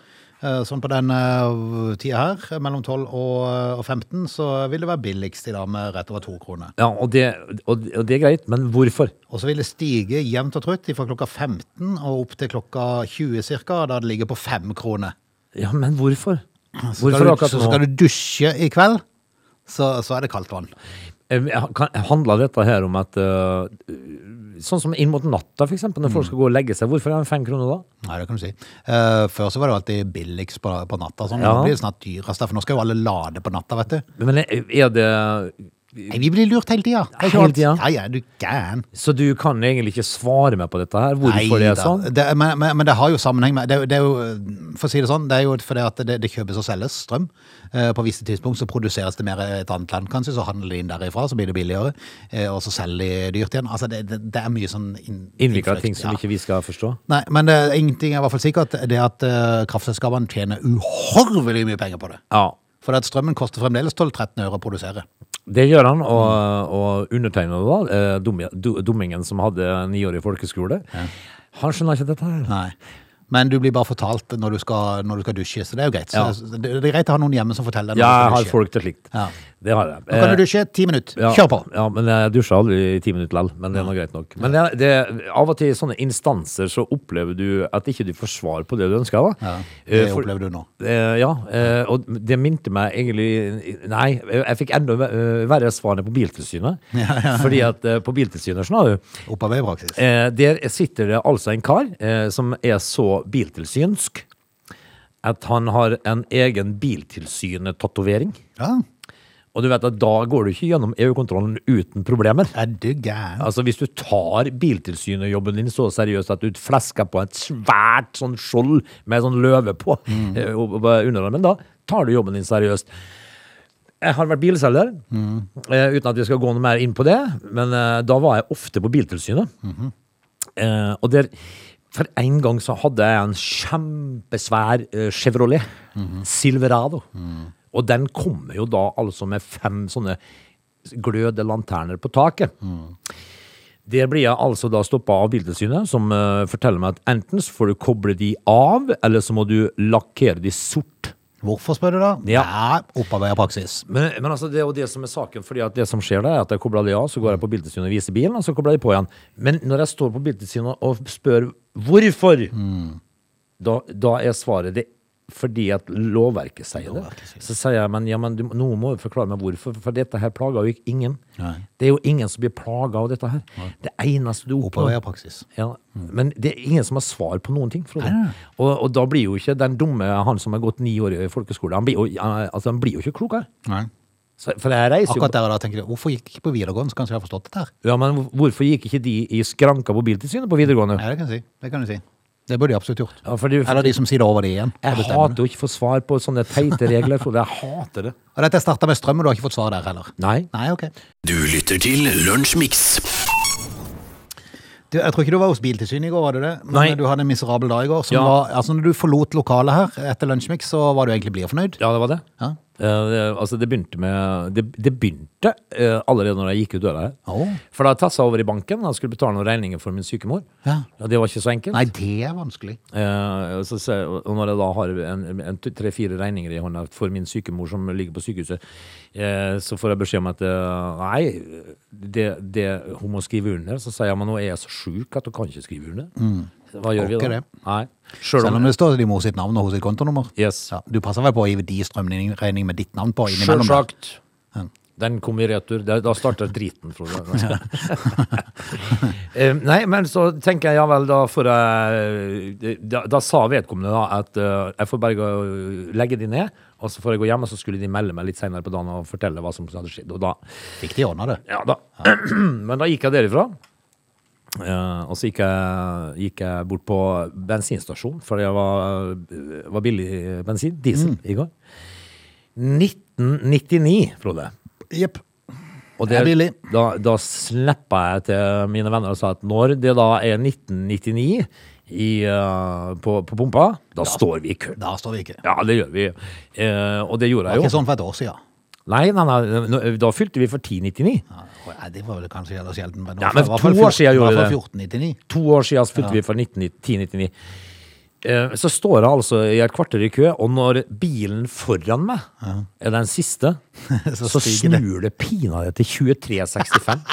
S1: eh, sånn på den eh, tida her, mellom 12 og, og 15, så vil det være billigst i dag med rett over to kroner.
S3: Ja, og det, og, og det er greit, men hvorfor?
S1: Og så vil det stige jevnt og trutt fra klokka 15 og opp til klokka 20 cirka, da det ligger på fem kroner.
S3: Ja, men hvorfor?
S1: Så skal,
S3: Hvorfor
S1: du,
S3: akkurat
S1: så
S3: nå?
S1: skal du dusje i kveld, så, så er det kaldt vann.
S3: Eh, kan- Handler dette her om at eh, Sånn som inn mot natta, for eksempel, når
S1: Mm.
S3: folk skal gå og legge seg. Hvorfor er han fem kroner da?
S1: Nei, det kan du si. Eh, før så var det jo alltid billigst på, på natta. Sånn.
S3: Ja.
S1: Nå blir det snart dyrest, da, for nå skal jo alle lade på natta, vet du.
S3: Men eh, er det
S1: Nei, vi blir lurt hele tida.
S3: Hele tida?
S1: Ja, ja, du gæren.
S3: Så du kan egentlig ikke svare meg på dette her? Hvorfor det er
S1: Neida.
S3: sånn?
S1: Det, men, men, men det har jo sammenheng med det, er jo- det er jo, For å si det sånn, det er jo fordi at det, det kjøpes og selges strøm. Eh, på visse tidspunkt så produseres det mer i et annet land, kanskje, så handler de inn derifra, så blir det billigere. Eh, og så selger de dyrt igjen. Altså, det, det, det er mye sånn inn,
S3: Innvikla
S1: innfløkt,
S3: ting som
S1: ja.
S3: ikke vi skal forstå?
S1: Nei, men det, er ingenting er i hvert fall sikkert. Det er at eh, kraftselskapene tjener uhorvelig mye penger på det.
S3: Ja.
S1: For at strømmen koster fremdeles 12-13 øre å produsere.
S3: Det gjør han, og,
S1: Mm.
S3: og undertegnede, da, eh, dum- du- dummingen som hadde niårig folkeskole, han skjønner ikke dette her.
S1: Nei. Men du blir bare fortalt når du skal, når du skal dusje, så det er jo greit. Så,
S3: Ja.
S1: det, det er greit å ha noen hjemme som forteller deg
S3: Ja, jeg
S1: når
S3: har
S1: du skal dusje.
S3: folk til slikt.
S1: Ja.
S3: Det har jeg.
S1: Nå kan
S3: Eh,
S1: du dusje ti minutter.
S3: Ja,
S1: Kjør på!
S3: Ja, men jeg dusja aldri i ti minutter likevel. Men det er nå greit nok. Men det, er- det, er- av og til i sånne instanser så opplever du at ikke du får svar på det du ønsker. Da.
S1: Ja, det
S3: Eh, for-
S1: opplever du nå.
S3: Eh, ja, eh, og det minte meg egentlig Nei, jeg jeg fikk enda ver- eh, verre svar enn på Biltilsynet. Fordi at eh, på Biltilsynet, skjønner du
S1: Opparbeid praksis.
S3: Eh, der sitter det altså en kar eh, som er så biltilsynsk at han har en egen Biltilsynet-tatovering.
S1: Ja.
S3: Og du vet at da går du ikke gjennom EU-kontrollen uten problemer.
S1: Er du gæren?
S3: Altså Hvis du tar Biltilsynet-jobben din så seriøst at du flesker på et svært sånn skjold med sånn løve på eh, og- og underarmen, da tar du jobben din seriøst. Jeg har vært bilselger, eh, uten at vi skal gå noe mer inn på det, men eh, da var jeg ofte på Biltilsynet. eh, og der, for en gang så hadde jeg en kjempesvær eh, Chevrolet Silverado. Og den kommer jo da altså med fem sånne gløde lanterner på taket. Der blir jeg altså da stoppa av Biltilsynet, som eh, forteller meg at enten så får du koble de av, eller så må du lakkere de sort.
S1: Hvorfor spør du da?
S3: Ja.
S1: Opparbeid praksis.
S3: Men, men altså, det er jo det som er saken, fordi at det som skjer da, er at jeg kobler de av, så går jeg på Biltilsynet og viser bilen, og så kobler jeg de på igjen. Men når jeg står Mm. på Biltilsynet og spør hvorfor, da, da er svaret det fordi at lovverket sier
S1: Lovverket sier
S3: det. Så sier jeg, men, ja, men du, nå må du forklare meg hvorfor, for dette her plager jo ikke ingen.
S1: Nei.
S3: Det er jo ingen som blir plaget av dette her. Det eneste du oppnår
S1: Opererpraksis.
S3: ja, men det er ingen som har svar på noen ting. Frode. Og, og da blir jo ikke den dumme han som har gått ni år i folkeskole, han blir jo, han, altså, han blir jo ikke klokere.
S1: Nei.
S3: Så- For jeg reiser jo
S1: Akkurat der og da tenker jeg, hvorfor gikk jeg ikke på videregående, så kanskje jeg har forstått dette her.
S3: Ja, men hvor- Hvorfor gikk ikke de i skranka på Biltilsynet på videregående?
S1: Nei, det kan du si. Det kan du si. Det burde de absolutt gjort.
S3: Ja, fordi,
S1: Eller de som sier det over det igjen.
S3: jeg
S1: Det stemmer.
S3: hater jo ikke å få svar på sånne teite regler. Frode. Jeg hater det.
S1: Og dette starta med strøm, og du har ikke fått svar der heller?
S3: Nei.
S1: Nei, ok.
S2: Du lytter til Lunsjmix.
S1: Du, jeg tror ikke du var hos Biltilsynet i går, var du det? Men
S3: Nei.
S1: du hadde en miserabel dag i går. Som
S3: Ja.
S1: var, altså når du forlot lokalet her etter Lunsjmix, så var du egentlig blid og fornøyd?
S3: Ja, det var det.
S1: Ja.
S3: Eh, det, altså, det begynte med Det, det begynte eh, allerede når jeg gikk ut døra her.
S1: Åh.
S3: For da tassa jeg over i banken. Jeg skulle betale noen regninger for min syke mor.
S1: Ja.
S3: Og det var ikke så enkelt.
S1: Nei, det er vanskelig.
S3: Eh, og så, ser jeg- og når jeg da har en- en t- tre-fire regninger i hånda for min sykemor som ligger på sykehuset, eh, så får jeg beskjed om at eh, nei, det, det, hun må skrive under. Så sier jeg men nå er jeg så sjuk at hun kan ikke skrive under. Hva gjør vi
S1: Orker
S3: da?
S1: Mm. det.
S3: Nei. Selv
S1: Selv
S3: om,
S1: om det står til din mor sitt navn og hos sitt kontonummer.
S3: Yes.
S1: Ja, du passer vel på å gi de strømregning med ditt navn på innimellom? der?
S3: Sjølsagt. Den kom i retur. Da da starter driten, Frode. Eh, Nei, men så tenker jeg ja vel, da får jeg Da, da sa vedkommende da at eh, jeg får bare gå, legge de ned, og så får jeg gå hjem, og så skulle de melde meg litt senere på dagen og fortelle hva som hadde skjedd. Og da,
S1: Fikk de ordna det?
S3: ja, da. Men da gikk jeg derifra. Eh, og så gikk jeg, gikk jeg bort på bensinstasjonen, for det var, var billig bensin,
S1: Mm.
S3: diesel, i går. 1999, Frode.
S1: Jepp.
S3: Og
S1: Det er billig.
S3: Da, da slippa jeg til mine venner og sa at når det da er 1999 i, eh, på, på pumpa, da står vi i kø.
S1: Da står vi ikke. Det
S3: Ja, det gjør vi. Eh, og det gjorde
S1: var
S3: jeg
S1: ikke
S3: jo.
S1: sånn for et år siden.
S3: Nei, nei, nei, nå- da fylte vi for 1099.
S1: Ja, nei, det var vel kanskje jævla sjelden. Men,
S3: Ja, men to år siden gjorde
S1: det.
S3: vi det.
S1: 1499.
S3: To år siden så fylte vi for 19, 1099. Eh, Så står jeg altså i et kvarter i kø, og når bilen foran meg er den siste,
S1: Så
S3: så,
S1: stiger det.
S3: snur det pinadø til 2365.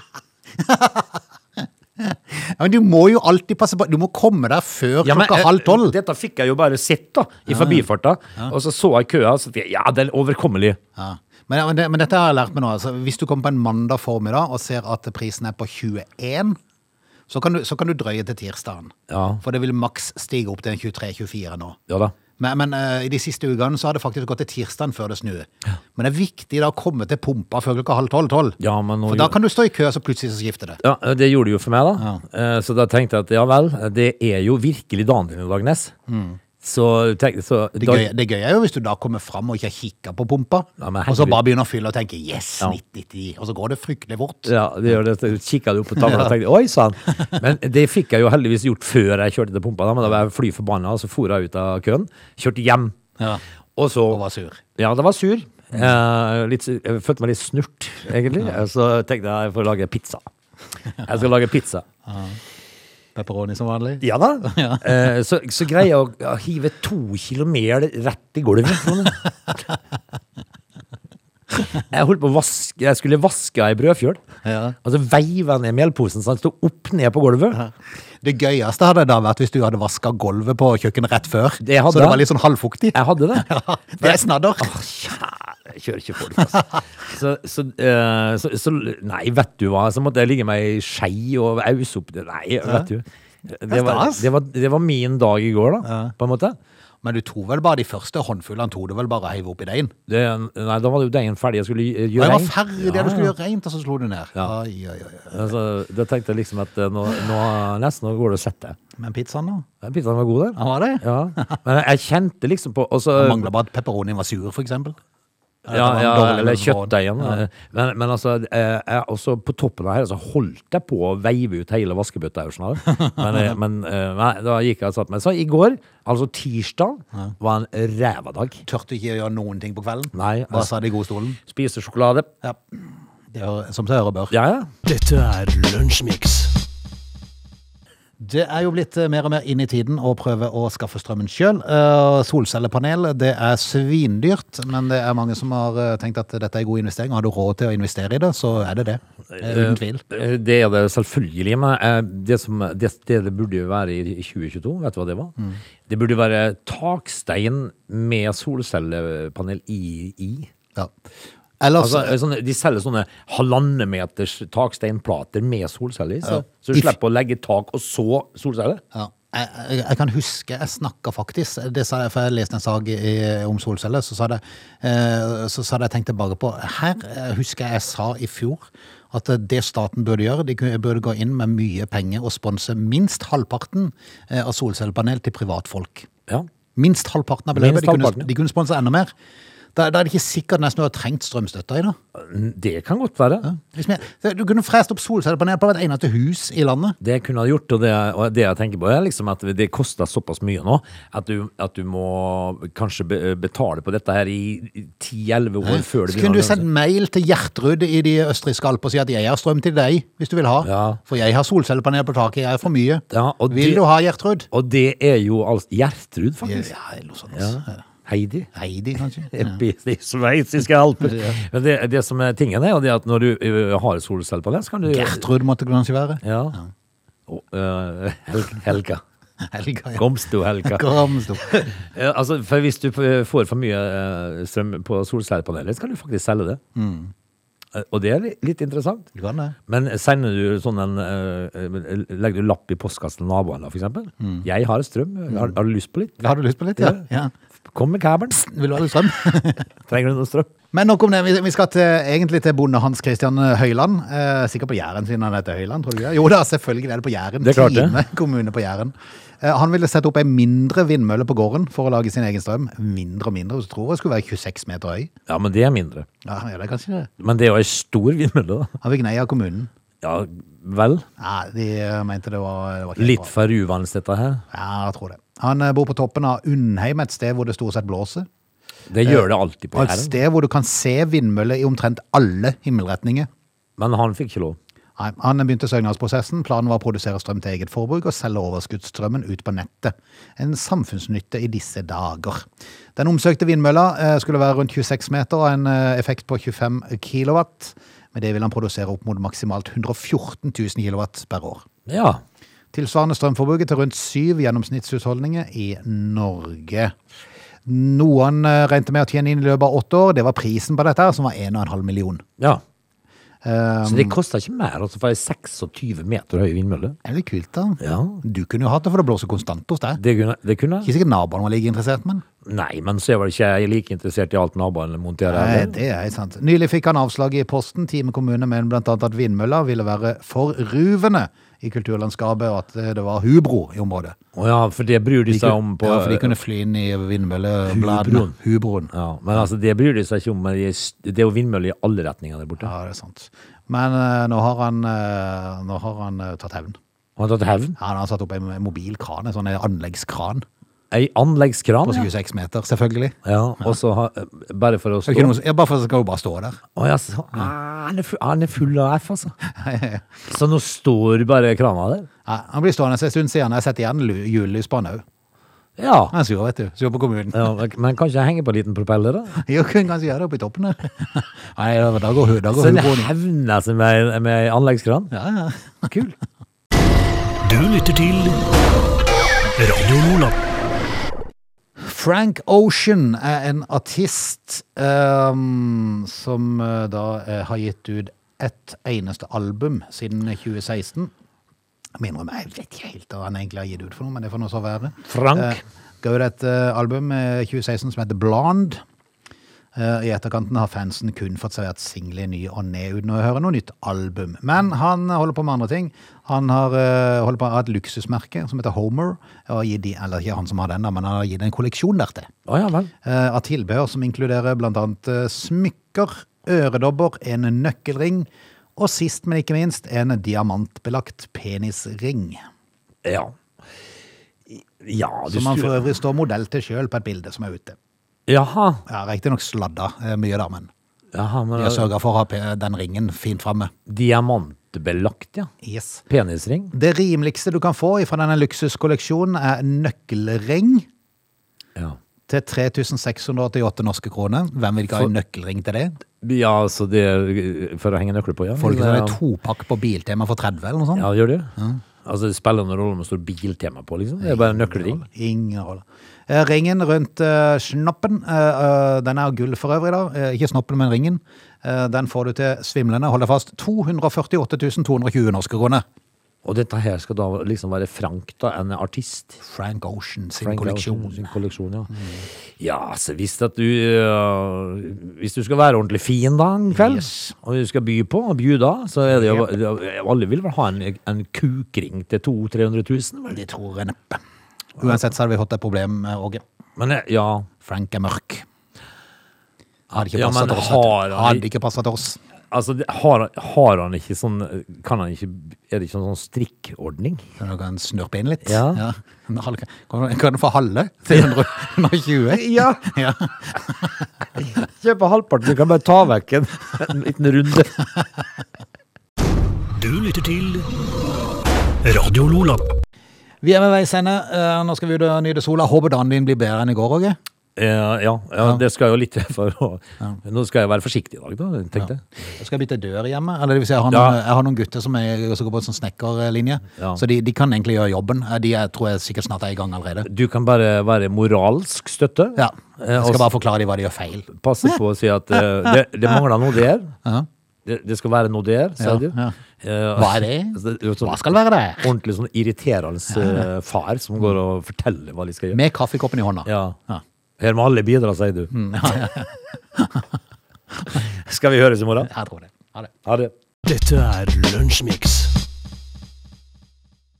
S1: Ja, men du må jo alltid passe på. Du må komme der før
S3: Ja, men,
S1: klokka
S3: eh,
S1: halv tolv.
S3: Dette fikk jeg jo bare sett da, i forbifarta. Og så så jeg køa, og så tenkte jeg ja, det er overkommelig.
S1: Ja. Men, men, det, men dette har jeg lært meg nå. Altså, hvis du kommer på en mandag formiddag og ser at prisen er på 21, så kan du, så kan du drøye til tirsdagen.
S3: Ja.
S1: For det vil maks stige opp til en 23-24 nå.
S3: Ja da.
S1: Men, men eh, i de siste ukene så har det faktisk gått til tirsdagen før det snur. Men det er viktig da å komme til pumpa før klokka halv tolv. tolv.
S3: Ja, men nå
S1: for da
S3: gjorde-
S1: kan du stå i kø, så plutselig så skifter det.
S3: Ja, eh, Det gjorde det jo for meg, da. Eh, Så da tenkte jeg at ja vel, eh, det er jo virkelig dagen din i dag, Ness. Så, tenk, så
S1: Det,
S3: da,
S1: gøye, det gøye er jo hvis du da kommer fram og ikke har kikka på pumpa,
S3: Ja, men
S1: og så
S3: herregud.
S1: bare begynner å fylle og tenker 'yes,
S3: Ja.
S1: 90', og så går det fryktelig fort.
S3: ja, det gjør det. Så kikket du opp på tavla og tenkte oi sann. Men det fikk jeg jo heldigvis gjort før jeg kjørte til pumpa, da, men da var jeg fly forbanna, og så for jeg ut av køen. Kjørte hjem.
S1: Ja.
S3: Og så
S1: Og var sur.
S3: Ja, det var sur. Eh, litt, sur- jeg følte meg litt snurt, egentlig. Så tenkte jeg jeg får lage pizza. Jeg skal lage pizza.
S1: Pepperoni som vanlig.
S3: Ja da. Eh, så, så greier jeg å å hive to kilo mel rett i gulvet. sånn. Jeg holdt på å vaske Jeg skulle vaske ei brødfjøl.
S1: Ja.
S3: Og så veiva jeg ned melposen så den sto opp ned på gulvet.
S1: Det gøyeste hadde da vært hvis du hadde vaska gulvet på kjøkkenet rett før.
S3: Det hadde
S1: så det
S3: jeg.
S1: var litt sånn halvfuktig.
S3: Jeg hadde det.
S1: Det er snadder.
S3: Kjære, jeg kjører ikke folk, altså. Så, så, eh, så, så Nei, vet du hva. Så måtte jeg ligge meg i skei og ause opp det. Nei, vet du. Det var,
S1: stas.
S3: det, var, det var min dag i går, da, på en måte.
S1: Men du tok vel bare de første håndfullene tok du vel bare å heive oppi deigen?
S3: Det, nei, da var det jo deigen ferdig. Jeg skulle eh,
S1: Og
S3: gjøre
S1: jeg var
S3: rein.
S1: ferdig der du skulle gjøre rent, og så slo du ned.
S3: Ja.
S1: Oi, oi, oi.
S3: Altså, da tenkte jeg liksom at eh, nå, nå nesten nå går det å sette.
S1: Men pizzaen, da?
S3: Ja, Pizzaen var god, der.
S1: Ja, var det?
S3: Ja. Men jeg kjente liksom på og så,
S1: Mangla bare at pepperonien var sur, for eksempel.
S3: ja,
S1: det var
S3: ja,
S1: dårlig
S3: eller
S1: brød.
S3: kjøttdeigen. Men, men altså, eh, jeg, også på toppen av her så holdt jeg på å veive ut hele vaskebøtta. her, sånn her. Men, eh, men eh, nei, da gikk jeg og satte meg. Så i går, altså tirsdag, var en ræva dag.
S1: Tørte ikke å gjøre noen ting på kvelden?
S3: Nei,
S1: Bare
S3: altså-
S1: satt i godstolen?
S3: Spiste sjokolade.
S1: Ja. Det er, som seg hør og bør.
S3: Ja, ja.
S2: Dette er Lunsjmix.
S1: Det er jo blitt eh, mer og mer inn i tiden å prøve å skaffe strømmen sjøl. Eh, solcellepanel det er svindyrt, men det er mange som har eh, tenkt at dette er god investering. Og har du råd til å investere i det, så er det det. Eh, Uten tvil.
S3: Eh, Det er det selvfølgelig, men eh, det som, det, det det burde være i 2022, vet du hva det var?
S1: Mm.
S3: Det burde være takstein med solcellepanel i. i.
S1: Ja. Ellers
S3: Altså, eh, sånne, de selger sånne halvannen meters taksteinplater med solceller i, så,
S1: Ja.
S3: så du slipper å legge tak og så solceller.
S1: ja. Jeg, jeg, jeg kan huske jeg snakka faktisk det sa jeg, For jeg leste en sak i, om solceller, så sa det, eh, så sa det jeg tenkte bare på Her eh, husker jeg jeg sa i fjor at eh, det staten burde gjøre, de kunne- burde gå inn med mye penger og sponse minst halvparten eh, av solcellepanel til privatfolk.
S3: Ja.
S1: Minst halvparten av beløpet.
S3: Minst
S1: De kunne,
S3: halvparten, ja.
S1: de kunne sponse enda mer. Da, da er det ikke sikkert nesten du har trengt strømstøtta i dag.
S3: Det kan godt være.
S1: Hvis vi- Du kunne frest opp solcellepanel på hvert eneste hus i landet.
S3: Det jeg kunne ha gjort, og det, og det jeg tenker på, er liksom at det koster såpass mye nå at du, at du må kanskje be, betale på dette her i 10-11 år før det
S1: Så kunne
S3: å
S1: du
S3: lønne
S1: sendt
S3: seg.
S1: mail til Gjertrud i de østerrikske alper og si at jeg har strøm til deg, hvis du vil ha.
S3: Ja.
S1: For jeg har solcellepanel på taket, jeg er for mye.
S3: Ja, og
S1: vil
S3: det-
S1: du ha Gjertrud?
S3: Og det er jo altså Gjertrud, faktisk.
S1: Ja, eller noe sånt. altså.
S3: Heidi.
S1: Heidi, kanskje? Ja.
S3: Oppe i de sveitsiske alper. Men det, det som er tingen, er jo det at når du ø, har solcelle på det, så kan du
S1: Gertrud måtte det kanskje være.
S3: Ja. Og, ø, Hel Helga.
S1: Helga, ja.
S3: Komstu Helga.
S1: Gramsdor.
S3: Ja, altså, for hvis du f- får for mye eh, strøm på solcellepanelet, så kan du faktisk selge det.
S1: Mm.
S3: Eh, Og det er li- litt interessant.
S1: Du kan det.
S3: Men sender du sånn en eh, eh, Legger du lapp i postkassen til naboen, da, for eksempel?
S1: Mm.
S3: 'Jeg har strøm. Har, har du lyst på litt?'
S1: Har du lyst på litt? Ja. ja.
S3: Kom med kabelen.
S1: Vil du ha litt strøm?
S3: Trenger du noe strøm?
S1: Men nok om det. Vi vi skal til, egentlig til bonde Hans Christian Høyland. Eh, sikkert på Jæren siden han heter Høyland, tror du ikke det? Jo da, selvfølgelig er det på Jæren.
S3: Det er klart det.
S1: Time kommune på Jæren. Eh, han ville sette opp ei mindre vindmølle på gården for å lage sin egen strøm. Mindre og mindre. Så tror jeg skulle være 26 meter høy.
S3: Ja, men det er mindre.
S1: Ja, han gjør det kanskje det.
S3: Men det er jo ei stor vindmølle, da.
S1: Han fikk nei av kommunen.
S3: Ja vel.
S1: Nei, de eh, mente det var, det var ikke
S3: Litt
S1: bra.
S3: for ruvende, dette her.
S1: Ja, jeg tror det. Han eh, bor på toppen av Undheim, et sted hvor det stort sett blåser.
S3: Det gjør det alltid på
S1: Og et
S3: Jæren.
S1: sted hvor du kan se vindmøller i omtrent alle himmelretninger.
S3: Men han fikk ikke lov.
S1: Nei, han begynte søknadsprosessen. Planen var å produsere strøm til eget forbruk og selge overskuddsstrømmen ut på nettet. En samfunnsnytte i disse dager. Den omsøkte vindmølla eh, skulle være rundt 26 meter og en eh, effekt på 25 kilowatt. Med det vil han produsere opp mot maksimalt 114 000 kilowatt per år.
S3: Ja.
S1: Tilsvarende strømforbruket til rundt syv gjennomsnittshusholdninger i Norge. Noen eh, regnet med å tjene inn i løpet av åtte år. Det var prisen på dette, her, som var 1,5 million.
S3: ja. Så
S1: Um,
S3: det koster ikke mer altså, for ei 26 meter høy vindmølle?
S1: Er det kult, da?
S3: Ja.
S1: Du kunne jo hatt det, for det blåser konstant hos deg.
S3: Det kunne, det kunne jeg.
S1: Ikke sikkert naboene var like interessert, men
S3: Nei, men så er vel ikke jeg like interessert i alt naboen monterer.
S1: Nei,
S3: eller?
S1: det er helt sant. Nylig fikk han avslag i posten, Time kommune, men blant annet at vindmølla ville være for ruvende i kulturlandskapet, og at eh, det var hubro i området.
S3: Å ja, for det bryr de seg om på
S1: ja, for de kunne fly inn i vindmøllebladene.
S3: Hubroen.
S1: Hubroen.
S3: Ja, Men altså, det bryr de seg ikke om. men de- Det er jo vindmøller i alle retninger der borte.
S1: Ja, det er sant. Men eh, nå har han, eh, nå har han eh, tatt hevn.
S3: Har han tatt hevn?
S1: Han har satt opp en mobilkran, en sånn eh, anleggskran
S3: Ei
S1: på
S3: anleggskran? ja.
S1: 26 meter, selvfølgelig.
S3: Ja, og så har- bare for å
S1: Det er ikke
S3: stå
S1: noe, som- ja, bare for at det skal jo bare stå der.
S3: Å ja, så, ah, han, er full, han er full av F, altså. Så nå står bare krana der?
S1: Nei, han blir stående en stund siden jeg setter igjen lu- julelys på han òg.
S3: Ja.
S1: Han er sur, vet du. Sur på kommunen.
S3: ja men kanskje jeg henger på en liten propeller, da?
S1: Jo, kunne kanskje gjøre det oppe i toppen her. Nei, da går, hu- da går
S3: Så det
S1: hubroen i.
S3: hevner seg med, med ei anleggskran?
S1: Ja, ja.
S3: Kult.
S2: Du lytter til Radio Nordland.
S1: Frank Ocean er en artist ehm, som eh, da eh, har gitt ut ett eneste album siden 2016. Jeg må innrømme, jeg vet ikke helt hva han egentlig har gitt ut for noe, men det får nå så være.
S3: Frank.
S1: Eh, Ga ut et eh, album i 2016 som heter Blonde. Eh, I etterkanten har fansen kun fått servert single i ny og ne uten å høre noe nytt album. Men han holder på med andre ting. Han har eh, holder på å ha et luksusmerke som heter Homer. Og gir de, eller ikke han som har den, da, men han har gitt en kolleksjon dertil.
S3: Å ja vel.
S1: eh, Av tilbehør som inkluderer bl.a. smykker, øredobber, en nøkkelring og sist, men ikke minst, en diamantbelagt penisring.
S3: Ja. Ja, du
S1: Som han
S3: skulle-
S1: for øvrig står modell til sjøl på et bilde som er ute.
S3: Jaha.
S1: Ja, Riktignok sladda eh, mye, da, men
S3: Ja, han
S1: De
S3: er
S1: har sørga for å ha pe- den ringen fint framme.
S3: diamantbelagt, ja.
S1: Yes.
S3: Penisring.
S1: Det rimeligste du kan få fra denne luksuskolleksjonen, er en nøkkelring
S3: Ja.
S1: til 3688 norske kroner. Hvem vil ikke ha en nøkkelring til det?
S3: ja, altså det er For å henge nøkler på, ja.
S1: Folk som
S3: ja.
S1: har en topakk på Biltema for 30 eller noe sånt.
S3: Ja, gjør det. Altså, det spiller noen rolle om det står biltema på, liksom. Det er bare en nøkkelring.
S1: Ingen rolle. Eh, Ringen rundt eh, snoppen, eh, eh, den er av gull for øvrig da, Eh, ikke snoppen, men ringen. Eh, Den får du til svimlende, hold deg fast, 248 220 norske kroner.
S3: Og dette her skal da liksom være Frank, da, en artist.
S1: Frank Ocean sin
S3: Frank Ocean
S1: kolleksjon.
S3: Sin kolleksjon, Mm. ja. Ja, altså, hvis at du øh, Hvis du skal være ordentlig fin da en kveld,
S1: Yes.
S3: og du skal by på og bjuda, så er det jo Alle vil vel ha en, en kukring til 200 000-300 000? vel?
S1: Det tror jeg neppe. Uansett så hadde vi hatt et problem, eh, Åge.
S3: Men eh, ja
S1: Frank er mørk. Hadde ikke
S3: Ja,
S1: passet
S3: men
S1: til oss.
S3: har
S1: vet du.
S3: han-
S1: Hadde ikke passet til oss.
S3: Altså, det- har, har han ikke sånn Kan han ikke Er det ikke en sånn strikkordning?
S1: Så du kan snurpe inn litt.
S3: Ja.
S1: En halv- Kan du- kan du få halve til 120?
S3: Ja!
S1: Ja.
S3: Kjøp halvparten, du kan bare ta vekk en en liten runde.
S2: Du lytter til Radio Lola.
S1: Vi er ved veis ende. Eh, Nå skal vi ut og nyte sola. Håper dagen din blir bedre enn i går, Åge.
S3: Eh, ja, ja, det skal jo litt til for å Nå skal jeg være forsiktig i dag, da, tenkte jeg.
S1: Jeg skal bytte dør hjemme. Eller det vil si, jeg har
S3: Ja.
S1: noen, jeg har noen gutter som, er, som går på en sånn snekkerlinje.
S3: Ja.
S1: Så de, de kan egentlig gjøre jobben. Eh, De er, tror jeg sikkert snart er i gang allerede.
S3: Du kan bare være moralsk støtte.
S1: Ja.
S3: Eh,
S1: Jeg
S3: og
S1: skal bare forklare dem hva de gjør feil.
S3: passe på å si at eh, det, det mangler noe der.
S1: Ja.
S3: Det, det skal være noe der, sa
S1: Ja,
S3: du.
S1: ja.
S3: Eh,
S1: Hva er det?
S3: altså, er jo sånn
S1: Hva skal være det?
S3: Ordentlig sånn irriterende eh, far som går og forteller hva de skal gjøre.
S1: Med kaffekoppen i hånda.
S3: Ja.
S1: Ja. Mm,
S3: Her må alle bidra, sier du. skal vi høres i morgen?
S1: Jeg tror det. Ha det.
S3: Ha det.
S2: Dette er Lunsjmix.